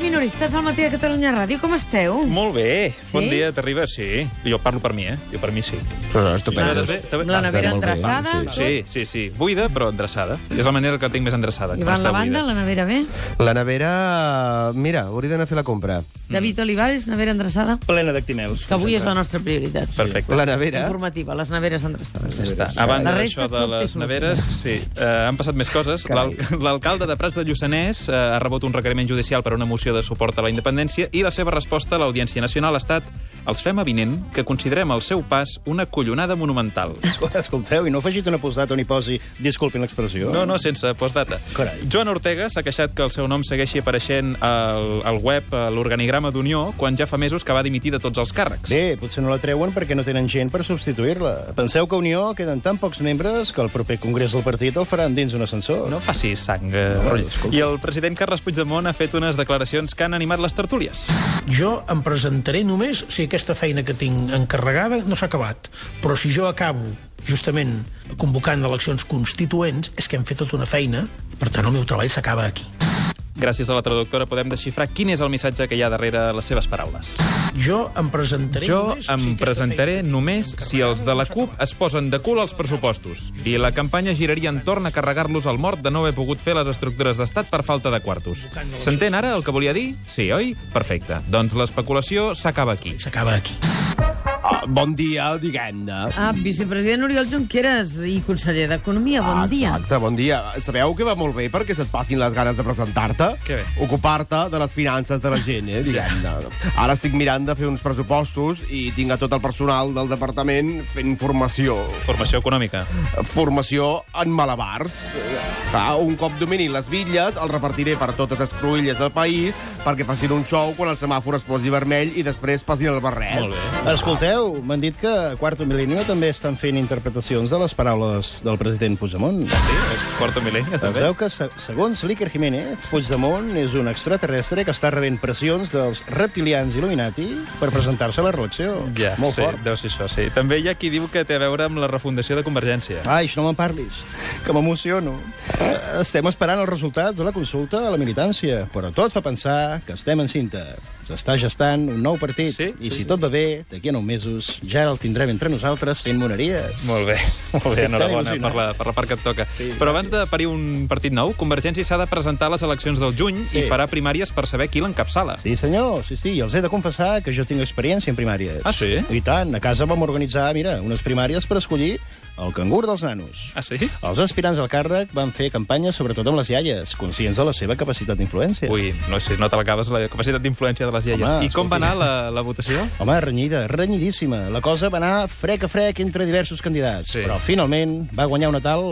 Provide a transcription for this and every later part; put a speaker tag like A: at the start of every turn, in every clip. A: minoristes al matí de Catalunya Ràdio. Com esteu?
B: Molt bé.
A: Sí?
B: Bon dia, t'arriba? Sí. Jo parlo per mi, eh? Jo per mi sí.
C: No, no,
B: Està
C: estupendo.
B: bé, està bé. eh?
A: Amb la nevera
C: molt bé.
A: endreçada,
C: Ah,
A: tot.
B: Sí, sí, sí. Buida, però endreçada. És la manera que la tinc més endreçada.
A: I va
B: quan
A: la
B: està
A: banda, la
B: buida. Mm.
A: nevera bé.
C: La nevera... Mira, hauria d'anar a fer la compra.
A: David Olivares, nevera endreçada,
D: plena d'actinels.
A: que avui és la nostra prioritat.
B: Perfecte.
C: La nevera...
A: Informativa, les neveres endreçades.
B: Ja està.
A: La
B: A banda
A: resta
B: d'això de
A: tot té
B: les
A: solució.
B: neveres, sí, eh, han passat més coses.
C: Carai.
B: L'al- L'alcalde de Prats de Lluçanès eh, ha rebut un requeriment judicial per una moció de suport a la independència i la seva resposta a l'Audiència Nacional ha estat els fem avinent que considerem el seu pas una collonada monumental.
D: Escolteu, i no afegit una postdata on hi posi disculpin l'expressió.
B: No, no, sense postdata.
D: Carai.
B: Joan Ortega s'ha queixat que el seu nom segueixi apareixent al, al web, a l'organigrama d'Unió, quan ja fa mesos que va dimitir de tots els càrrecs.
D: Bé, potser no la treuen perquè no tenen gent per substituir-la. Penseu que a Unió queden tan pocs membres que el proper congrés del partit el faran dins un ascensor.
B: No facis sang, eh, Roger. I el president Carles Puigdemont ha fet unes declaracions que han animat les tertúlies.
E: Jo em presentaré només si aquesta feina que tinc encarregada no s'ha acabat. Però si jo acabo justament convocant eleccions constituents, és que hem fet tota una feina, per tant el meu treball s'acaba aquí.
B: Gràcies a la traductora podem desxifrar quin és el missatge que hi ha darrere les seves paraules.
E: Jo em presentaré
B: Jo
E: només...
B: em presentaré només si els de la CUP es posen de cul als pressupostos i la campanya giraria entorn a carregar-los al mort de no haver pogut fer les estructures d'estat per falta de quartos. S'entén ara el que volia dir? Sí, oi? Perfecte. Doncs l'especulació s'acaba aquí.
E: S'acaba aquí.
C: Ah, bon dia, diguem-ne.
A: Ah, vicepresident Oriol Junqueras i conseller d'Economia, Ah, bon dia.
C: Exacte, bon dia. Sabeu que va molt bé perquè se't passin les ganes de presentar-te,
B: Que bé.
C: ocupar-te de les finances de la gent, eh, diguem-ne. Ara estic mirant de fer uns pressupostos i tinc a tot el personal del departament fent formació.
B: Formació econòmica.
C: Formació en malabars. Ah, un cop domini les bitlles, el repartiré per totes les cruïlles del país perquè facin un show quan el semàfor es posi vermell i després passin el barret.
B: Molt bé.
D: Escolteu, m'han dit que a Quarto Milenio també estan fent interpretacions de les paraules del president Puigdemont.
B: Sí, és quarto mil·lenni, també.
D: Penseu que, se- segons l'Iker Jiménez, Puigdemont és un extraterrestre que està rebent pressions dels reptilians il·luminati per presentar-se a la reelecció.
B: Ja,
D: Molt
B: sí,
D: fort.
B: deu ser això, sí. També hi ha qui diu que té a veure amb la refundació de Convergència.
D: Ai, això no me'n parlis, que m'emociono. Eh, Estem esperant els resultats de la consulta a la militància, però tot fa pensar que estem en cinta. S'està gestant un nou partit,
B: Sí, sí,
D: i si
B: sí.
D: tot va bé, d'aquí a nou mesos ja el tindrem entre nosaltres fent moneries.
B: Molt bé, molt bé,
D: Estic
B: enhorabona
D: tan il·lusionat.
B: per la, per la part que et toca. Sí, Però abans de parir un partit nou, Convergència s'ha de presentar a les eleccions del juny sí. i
D: Sí.
B: farà primàries per saber qui l'encapçala. Sí.
D: Sí, senyor, sí, sí, i els he de confessar que jo tinc experiència en primàries.
B: Ah, sí?
D: I tant, a casa vam organitzar, mira, unes primàries per escollir el cangur dels nanos.
B: Ah, sí?
D: Els aspirants al càrrec van fer campanya sobretot amb les iaies, conscients de la seva capacitat d'influència.
B: Ui, no sé, no te l'acabes la capacitat d'influència de les iaies.
D: Home,
B: I com va anar la, la votació?
D: Home, renyida, renyidíssima. La cosa va anar frec a frec entre diversos candidats.
B: Sí.
D: Però finalment va guanyar una tal,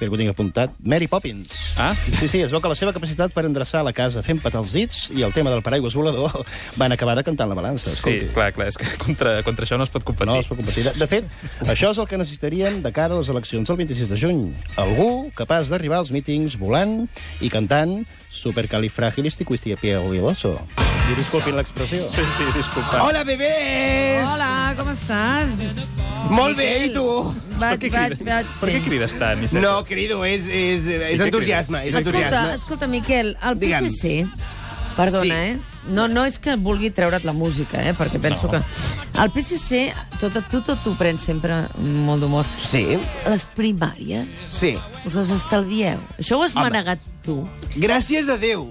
D: per que ho tinc apuntat, Mary Poppins.
B: Ah.
D: Sí, sí, es veu que la seva capacitat per endreçar la casa fent petar els dits i el tema del paraigües volador van acabar de cantar en la balança.
B: Sí,
D: escolti.
B: clar, clar, és que contra, contra això no es pot competir.
D: No es pot competir. De- De fet, això és el que necessitaríem de cara a les eleccions del 26 de juny. Algú capaç d'arribar als mítings volant i cantant supercalifragilisticusticipiagoiloso. I disculpin l'expressió.
B: Sí, sí, disculpa.
C: Hola, bebès!
A: Hola, com estàs?
C: Molt bé, i tu?
B: Per
A: Vaig,
B: què
A: vaig,
B: crides,
A: vaig
B: per què
A: fent.
B: crides tant, Iceta?
C: No, querido, és, és, és
B: que
C: entusiasme, és
A: Escolta,
C: entusiasme.
A: escolta, Miquel, el
C: Digue'm.
A: PSC... Perdona,
C: Sí.
A: eh? No, no és que vulgui treure't la música, eh? perquè penso
B: No.
A: que... El PSC, tot, tu tot ho prens sempre amb molt d'humor.
C: Sí,
A: Les primàries
C: sí.
A: us les estalvieu. Això ho has Home. manegat tu.
C: Gràcies a Déu.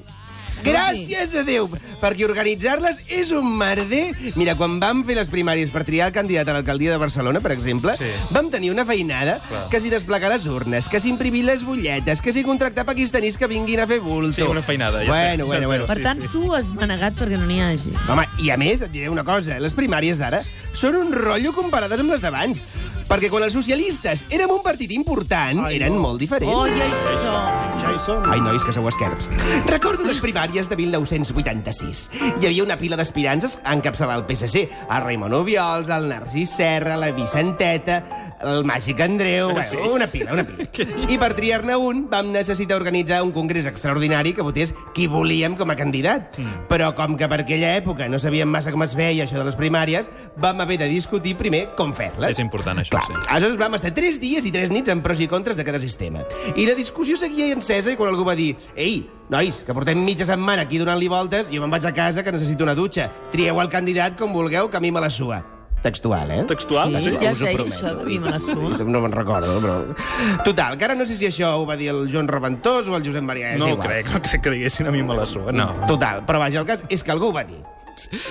C: Gràcies a Déu, perquè organitzar-les és un merder. Mira, quan vam fer les primàries per triar el candidat a l'alcaldia de Barcelona, per exemple,
B: Sí.
C: vam tenir una feinada
B: Clar.
C: que s'hi desplegar les urnes, que s'hi imprimir les butlletes, que s'hi contractar pakistanís que vinguin a fer bulto.
B: Sí, una feinada, ja
C: bueno,
B: es veu,
C: bueno,
B: ja
C: bueno.
B: es
A: Per
B: Sí,
A: tant,
B: sí.
A: tu has manegat perquè no n'hi hagi.
C: Home, i a més, et diré una cosa, les primàries d'ara són un rotllo comparades amb les d'abans, perquè quan els socialistes érem un partit important,
D: Ai,
C: eren
D: no.
C: molt diferents.
A: Oh, ja hi som.
D: Ja hi som.
C: Ai, nois, que sou esquerps. Recordo les primàries de 1986. Hi havia una pila d'aspirants a encapçalar el PSC. El Raimon Obiols, el Narcís Serra, la Vicenteta, el Màgic Andreu...
B: Ah, Sí.
C: Bueno, una pila, una pila. I per triar-ne un, vam necessitar organitzar un congrés extraordinari que votés qui volíem com a candidat.
B: Mm.
C: Però com que per aquella època no sabíem massa com es feia això de les primàries, vam haver de discutir primer com fer-les.
B: És important, això,
C: Clar,
B: sí.
C: Aleshores vam estar 3 dies i 3 nits en pros i contres de cada sistema. I la discussió seguia en encesa i quan algú va dir «Ei, nois, que portem mitja setmana aquí donant-li voltes, jo me'n vaig a casa que necessito una dutxa. Trieu el candidat com vulgueu, que a mi me la sua». Textual, eh?
A: Sí,
F: Textual, sí?
A: ja es
C: us ho
A: deia
C: prometo.
A: això, i me la suma.
C: No me'n recordo, però... Total, que ara no sé si això ho va dir el Joan Reventós o el Josep Maria. És
F: No ho
C: igual.
F: crec, no crec que diguessin a mi me la sua, no.
C: Total, però vaja, el cas és que algú ho va dir.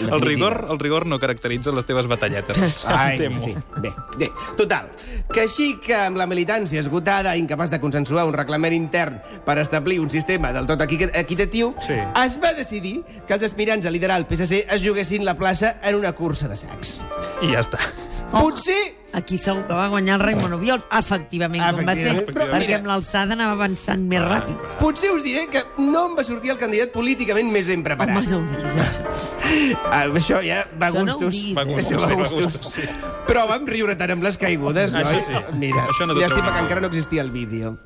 B: El rigor, el rigor no caracteritza les teves batalletes.
C: Ai,
F: Temo.
C: sí. Bé, bé, total. Que així que amb la militància esgotada, incapaç de consensuar un reglament intern per establir un sistema del tot equi- equitatiu,
F: Sí.
C: es va decidir que els aspirants a liderar el PSC es juguessin la plaça en una cursa de sacs.
F: I ja està.
A: Oh.
C: Potser
A: Aquí segur que va guanyar el Raimon Obiols, efectivament, com va ser,
C: Efectivament, Ah. però
A: perquè
C: mira-
A: amb l'alçada anava avançant més ràpid.
C: Potser us diré que no em va sortir el candidat políticament més ben preparat.
A: Home, no ho diguis, això.
C: Ah, això ja va a
A: Això no ho
C: gustos.
A: diguis,
B: Va a
A: eh?
B: gustos,
C: Això va a
B: sí, va a
C: gustos.
B: gustos, sí.
C: Però vam riure tant amb les caigudes,
B: Això
C: noi?
B: sí.
C: Mira,
B: Això no t'ho
C: llàstima
B: treu
C: que
B: ningú.
C: encara no existia el vídeo.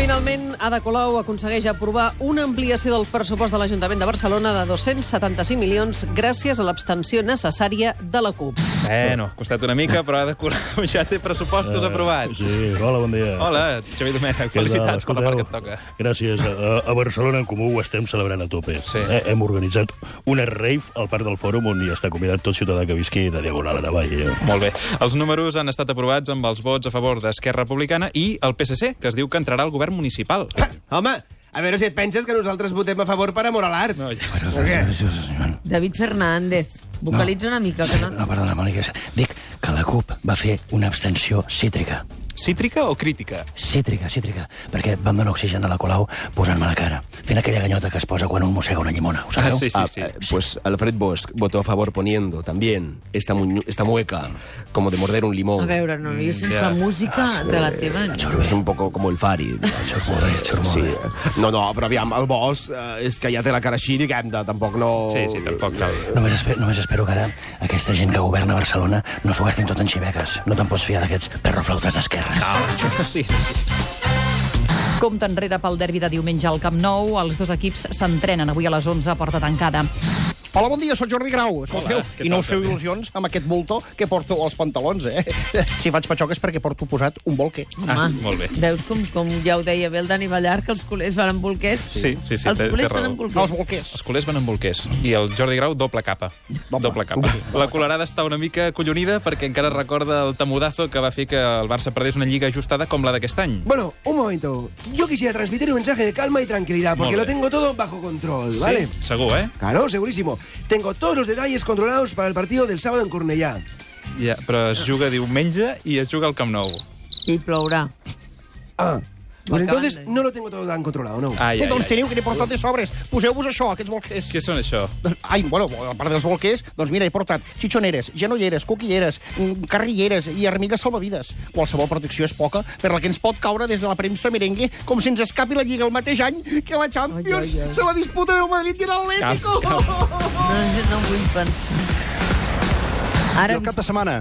G: Finalment, Ada Colau aconsegueix aprovar una ampliació del pressupost de l'Ajuntament de Barcelona de 275 milions gràcies a l'abstenció necessària de la CUP.
B: Bueno, Eh, ha costat una mica, però ha de col·laborar. Ja té pressupostos aprovats.
H: Eh, Sí, hola, bon dia.
B: Hola, Xavier Domènech,
H: Què tal?
B: felicitats per la part que et
H: Escolteu?
B: toca.
H: Gràcies. A, a Barcelona en Comú ho estem celebrant a tope.
B: Sí.
H: Eh, hem organitzat una rave al Parc del Fòrum on hi està convidat tot ciutadà que visqui de Diagonal a Navall. Eh?
B: Molt bé. Els números han estat aprovats amb els vots a favor d'Esquerra Republicana i el PSC, que es diu que entrarà al govern municipal.
H: Ah.
C: Ha, home, a veure si et penses que nosaltres votem a favor per amor a l'art. No, ja, però... Què?
A: David Fernández, vocalitza una mica, que no...
I: Ah, No, perdona, Mònica. Dic que la CUP va fer una abstenció cítrica.
B: Cítrica o crítica?
I: Cítrica, cítrica. Perquè vam donar oxigen a la Colau posant-me la cara. Fent aquella ganyota que es posa quan un mossega una llimona. Ho
B: Ah,
I: sabeu?
B: sí, sí, sí.
J: eh,
H: eh,
J: Pues Alfred Bosch votó a favor poniendo también esta, muñe- esta mueca como de morder un
A: A
J: limón.
A: veure, no, jo
B: Mm,
A: sense la
B: Ah,
A: música de la teva... no.
J: És un poco com el Fari. Sí. No, no, però aviam, el Bosch eh, és que ja té la cara així, diguem de tampoc
H: oh.
J: no...
B: Sí, sí, tampoc cal.
I: Només, espe només espero que ara aquesta gent que governa Barcelona no s'ho gastin tot en xiveques. No te'n pots fiar d'aquests perroflautes d'esquerra.
B: Ah, Sí, sí.
K: Compte enrere pel derbi de diumenge al Camp Nou. Els dos equips s'entrenen avui a les 11 a porta tancada.
D: Hola, bon dia, sóc Jordi Grau. Escolteu,
B: què
D: i
B: tal,
D: no us feu
B: també?
D: il·lusions amb aquest bulto que porto als pantalons, eh? Si faig patxoques perquè porto posat un bolquer.
B: Ah, molt bé.
A: Veus com, com ja ho deia bé el Dani Ballar, que els culers van amb bolquers?
B: Sí, sí, sí,
A: Els
B: té- té
A: culers
B: raó.
A: van amb
D: No, els
A: bolquers.
D: bolquers.
B: Els culers van amb bolquers. I el Jordi Grau, doble capa. Doble capa. La colorada està una mica acollonida perquè encara recorda el tamudazo que va fer que el Barça perdés una lliga ajustada com la d'aquest any.
L: Bueno, un momento. Yo quisiera transmitir un mensaje de calma y tranquilidad, porque
B: Molt
L: lo
B: bé.
L: tengo todo bajo control, ¿vale?
B: Sí, segur, eh?
L: Claro, segurísimo. Tengo todos los detalles controlados para el partido del sábado en Cornellá.
B: Ja, però es juga diumenge i es juga al Camp Nou.
A: I plourà.
L: Ah, pues
A: Acaban
L: entonces
A: de-
L: no lo tengo todo tan controlado, ¿no?
B: Ai, ai,
D: Doncs
B: ai.
D: teniu que n'hi portat de sobres. Poseu-vos això, aquests bolquers. Doncs,
B: Què són això?
D: Ai, bueno, a part dels bolquers, doncs mira, he portat xitxoneres, genolleres, coquilleres, mm, carrilleres i armigues salvavides. Qualsevol protecció és poca per la que ens pot caure des de la premsa merengue, com si ens escapi la Lliga el mateix any que la Champions se la disputa el Madrid i l'Atlético.
B: Cal,
A: No, no vull pensar.
I: I
A: Ara
I: el cap de setmana,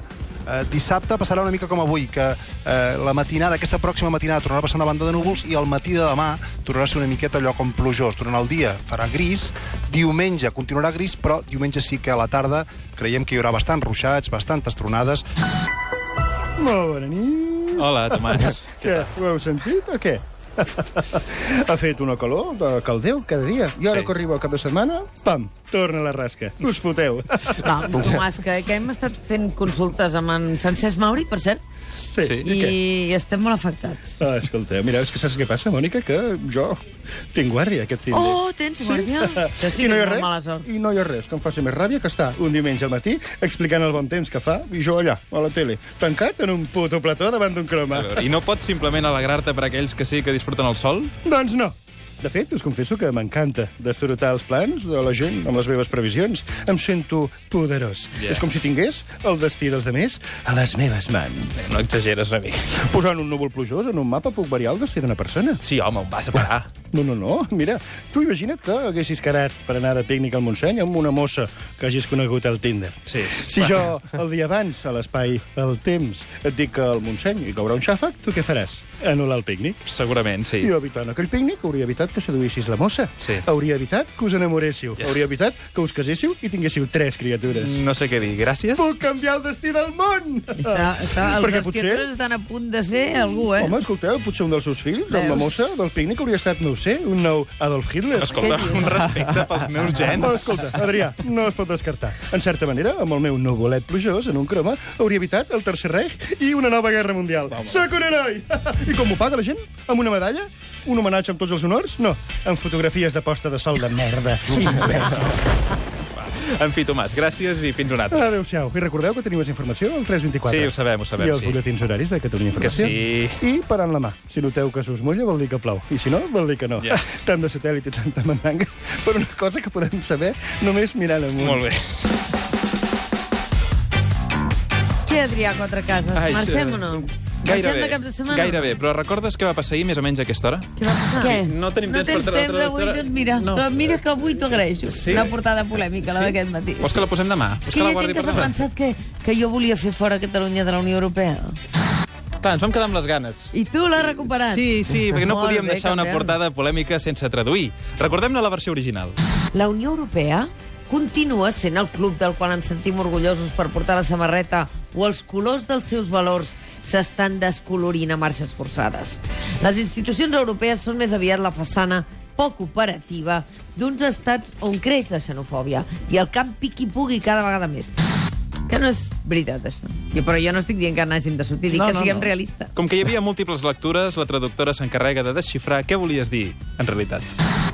I: eh, dissabte, passarà una mica com avui, que eh, la matinada, aquesta pròxima matinada, tornarà a passar una banda de núvols i el matí de demà tornarà a ser una miqueta allò com plujós. Durant el dia farà gris, diumenge continuarà gris, però diumenge sí que a la tarda creiem que hi haurà bastants ruixats, bastantes tronades.
D: Molt bona nit.
B: Hola, Tomàs.
D: Què? Ho heu sentit o què? ha fet una calor de caldeu cada dia. I ara
B: Sí.
D: sí. que arriba el cap de setmana, pam, torna la rasca. Us foteu.
A: Va, Tomàs, que, que hem estat fent consultes amb en Francesc Mauri, per cert,
D: sí,
A: i,
D: què?
A: i estem molt afectats.
D: Ah, escolta, mira, és que saps què passa, Mònica? Que jo tinc guàrdia aquest fin de...
A: Oh, tens guàrdia? Això sí
D: I
A: que
D: no
A: és
D: hi ha
A: molt
D: res,
A: mala sort.
D: I no hi ha res que em faci més ràbia que estar un diumenge al matí explicant el bon temps que fa i jo allà, a la tele, tancat en un puto plató davant d'un croma.
B: A veure, I no pots simplement alegrar-te per aquells que sí que disfruten el sol?
D: Doncs no. De fet, us confesso que m'encanta destrotar els plans de la gent amb les meves previsions. Em sento poderós.
B: Ja.
D: Yeah. És com si tingués el destí dels demés a les meves mans.
B: Eh, No exageres una mica.
D: Posant un núvol plujós en un mapa puc variar el destí d'una persona.
B: Sí, home, on vas a parar?
D: No, no, no. Mira, tu imagina't que haguessis quedat per anar de pícnic al Montseny amb una mossa que hagis conegut al Tinder.
B: Sí.
D: Si jo, el dia abans, a l'espai, el temps, et dic que al Montseny hi caurà un xàfec, tu què faràs? Anul·lar el pícnic.
B: Segurament, sí.
D: Jo, evitant aquell pícnic, hauria evitat evitat que seduïssis la mossa. Sí. Hauria evitat que us enamoréssiu. Yeah. Hauria evitat que us caséssiu i tinguéssiu tres criatures.
B: Mm.
F: No sé què dir, gràcies.
D: Puc canviar el destí del món!
A: Està, està, els
D: Ah, Perquè
A: dos
D: potser...
A: criatures estan a punt de ser algú, eh?
D: Home, escolteu, potser un dels seus fills, amb la
A: Veus?
D: mossa, del pícnic, hauria estat, no ho sé, un nou Adolf Hitler.
F: Escolta, Què dius? un respecte pels meus gens.
D: Però, escolta, Adrià, no es pot descartar. En certa manera, amb el meu nuvolet plujós, en un croma, hauria evitat el Tercer Reich i una nova guerra mundial. Soc un heroi! I com ho paga la gent? Amb una medalla? Un homenatge amb tots els honors? No, amb fotografies de posta de sol de merda.
F: En fi, Tomàs, gràcies i fins un
B: Ah.
F: altre.
D: Adéu-siau. I recordeu que teniu més informació al 324.
F: Sí, ho sabem, ho sabem,
D: I els
F: sí.
D: butlletins horaris de Catalunya Informació.
F: Que
D: sí. I parant la mà. Si noteu que se us mulla, vol dir que plou. I si no, vol dir que no.
F: Ja.
D: Tant de satèl·lit i tanta mandanga. Per una cosa que podem saber només mirant amunt.
F: Molt bé.
A: Què, Adrià, quatre cases?
B: Ai,
A: Marxem
B: sí.
A: o no? Marxem
B: Gairebé,
A: de cap de setmana?
B: gairebé, però recordes què va passar ahir més o menys a aquesta hora?
A: Què va passar? Què?
B: No tenim
A: no
B: temps per
A: tens
B: tra-
A: temps
B: tra-
A: avui,
B: tra-
A: doncs mira,
B: No.
A: no. mira que avui t'ho agraeixo.
B: Sí.
A: Sí. Una portada polèmica, la d'aquest matí.
B: Vols que la posem demà? Vols
A: És que hi
B: la
A: ha gent
B: guardi
A: que
B: per
A: s'ha
B: demà?
A: pensat que, que jo volia fer fora Catalunya de la Unió Europea.
B: Clar, ens vam quedar amb les ganes.
A: I tu l'has recuperat.
B: Sí, sí, perquè no
A: Molt
B: podíem
A: bé,
B: deixar una
A: campion.
B: portada polèmica sense traduir. Recordem-ne la versió original.
A: La Unió Europea continua sent el club del qual ens sentim orgullosos per portar la samarreta o els colors dels seus valors s'estan descolorint a marxes forçades. Les institucions europees són més aviat la façana poc operativa d'uns estats on creix la xenofòbia i el camp piqui-pugui cada vegada més. Que no és veritat, això. Jo, però jo no estic dient que n'hagin de sortir, dic no, que no, siguem no. realistes.
B: Com que hi havia múltiples lectures, la traductora s'encarrega de desxifrar què volies dir, en realitat.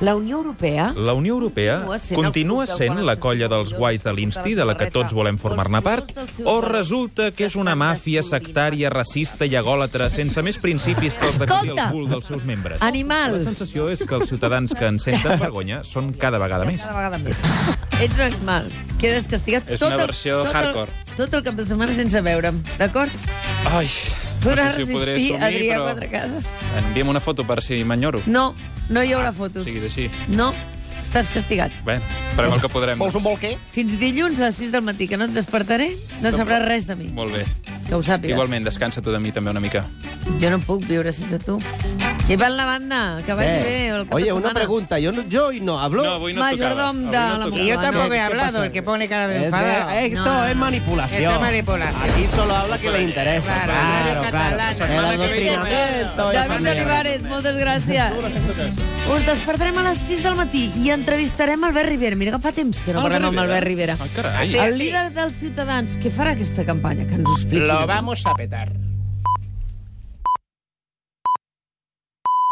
A: La Unió Europea
B: La Unió Europea
A: Continua sent el
B: continua
A: club del
B: sent
A: qual
B: la
A: ens
B: colla dels guais de l'Insti, de la que tots volem formar-ne part, o resulta que és una màfia sectària, racista i agòlatra, sense més principis que els de cosir el
A: Escolta!
B: cul dels seus membres.
A: Animal!
B: La sensació és que els ciutadans que en senten vergonya són cada vegada més.
A: Cada vegada més. Ets un animal. Quedes castigat
B: És
A: tot
B: una
A: el-
B: versió
A: tot el,
B: hardcore.
A: Tot el cap de setmana sense veure'm, d'acord?
B: Ai,
A: Podràs
B: no sé si ho podré
A: resistir,
B: assumir,
A: Adrià
B: però...
A: Quatre Cases.
B: Enviem una foto per si m'enyoro.
A: No, no hi haurà fotos.
B: Ah, Siguis així.
A: No, estàs castigat.
B: Bé, farem el que podrem. doncs.
D: què?
A: Fins dilluns a les 6 del matí, que no et despertaré, no sabràs res de mi.
B: Molt bé.
A: Que ho sàpigues.
B: Igualment, descansa tu de mi també una mica.
A: Jo no puc viure sense tu. I van la banda, que vagi bé el cap de
C: Eh. Oye,
A: setmana.
C: una pregunta. Yo, no- yo hoy no hablo.
B: No, avui no et tocava.
A: Majordom de la
C: tocaba.
A: Moncloa.
C: Yo tampoco he hablado, el
M: que pone cara
C: de enfadado.
M: eh,
C: No. Esto es manipulación.
M: Aquí
C: solo habla que le interesa. Claro, claro. El adoctrinamiento, esa
A: David
C: mierda.
A: Olivares, moltes gràcies. Us despertarem a les 6 del matí i entrevistarem Albert Rivera. Mira que fa temps que no
M: Albert
A: parlem amb
M: Rivera?
A: Albert Rivera.
M: Ah, carai. Ah, sí,
A: El
M: sí.
A: líder dels Ciutadans, que farà aquesta campanya? Que ens ho expliqui.
M: Lo vamos a petar.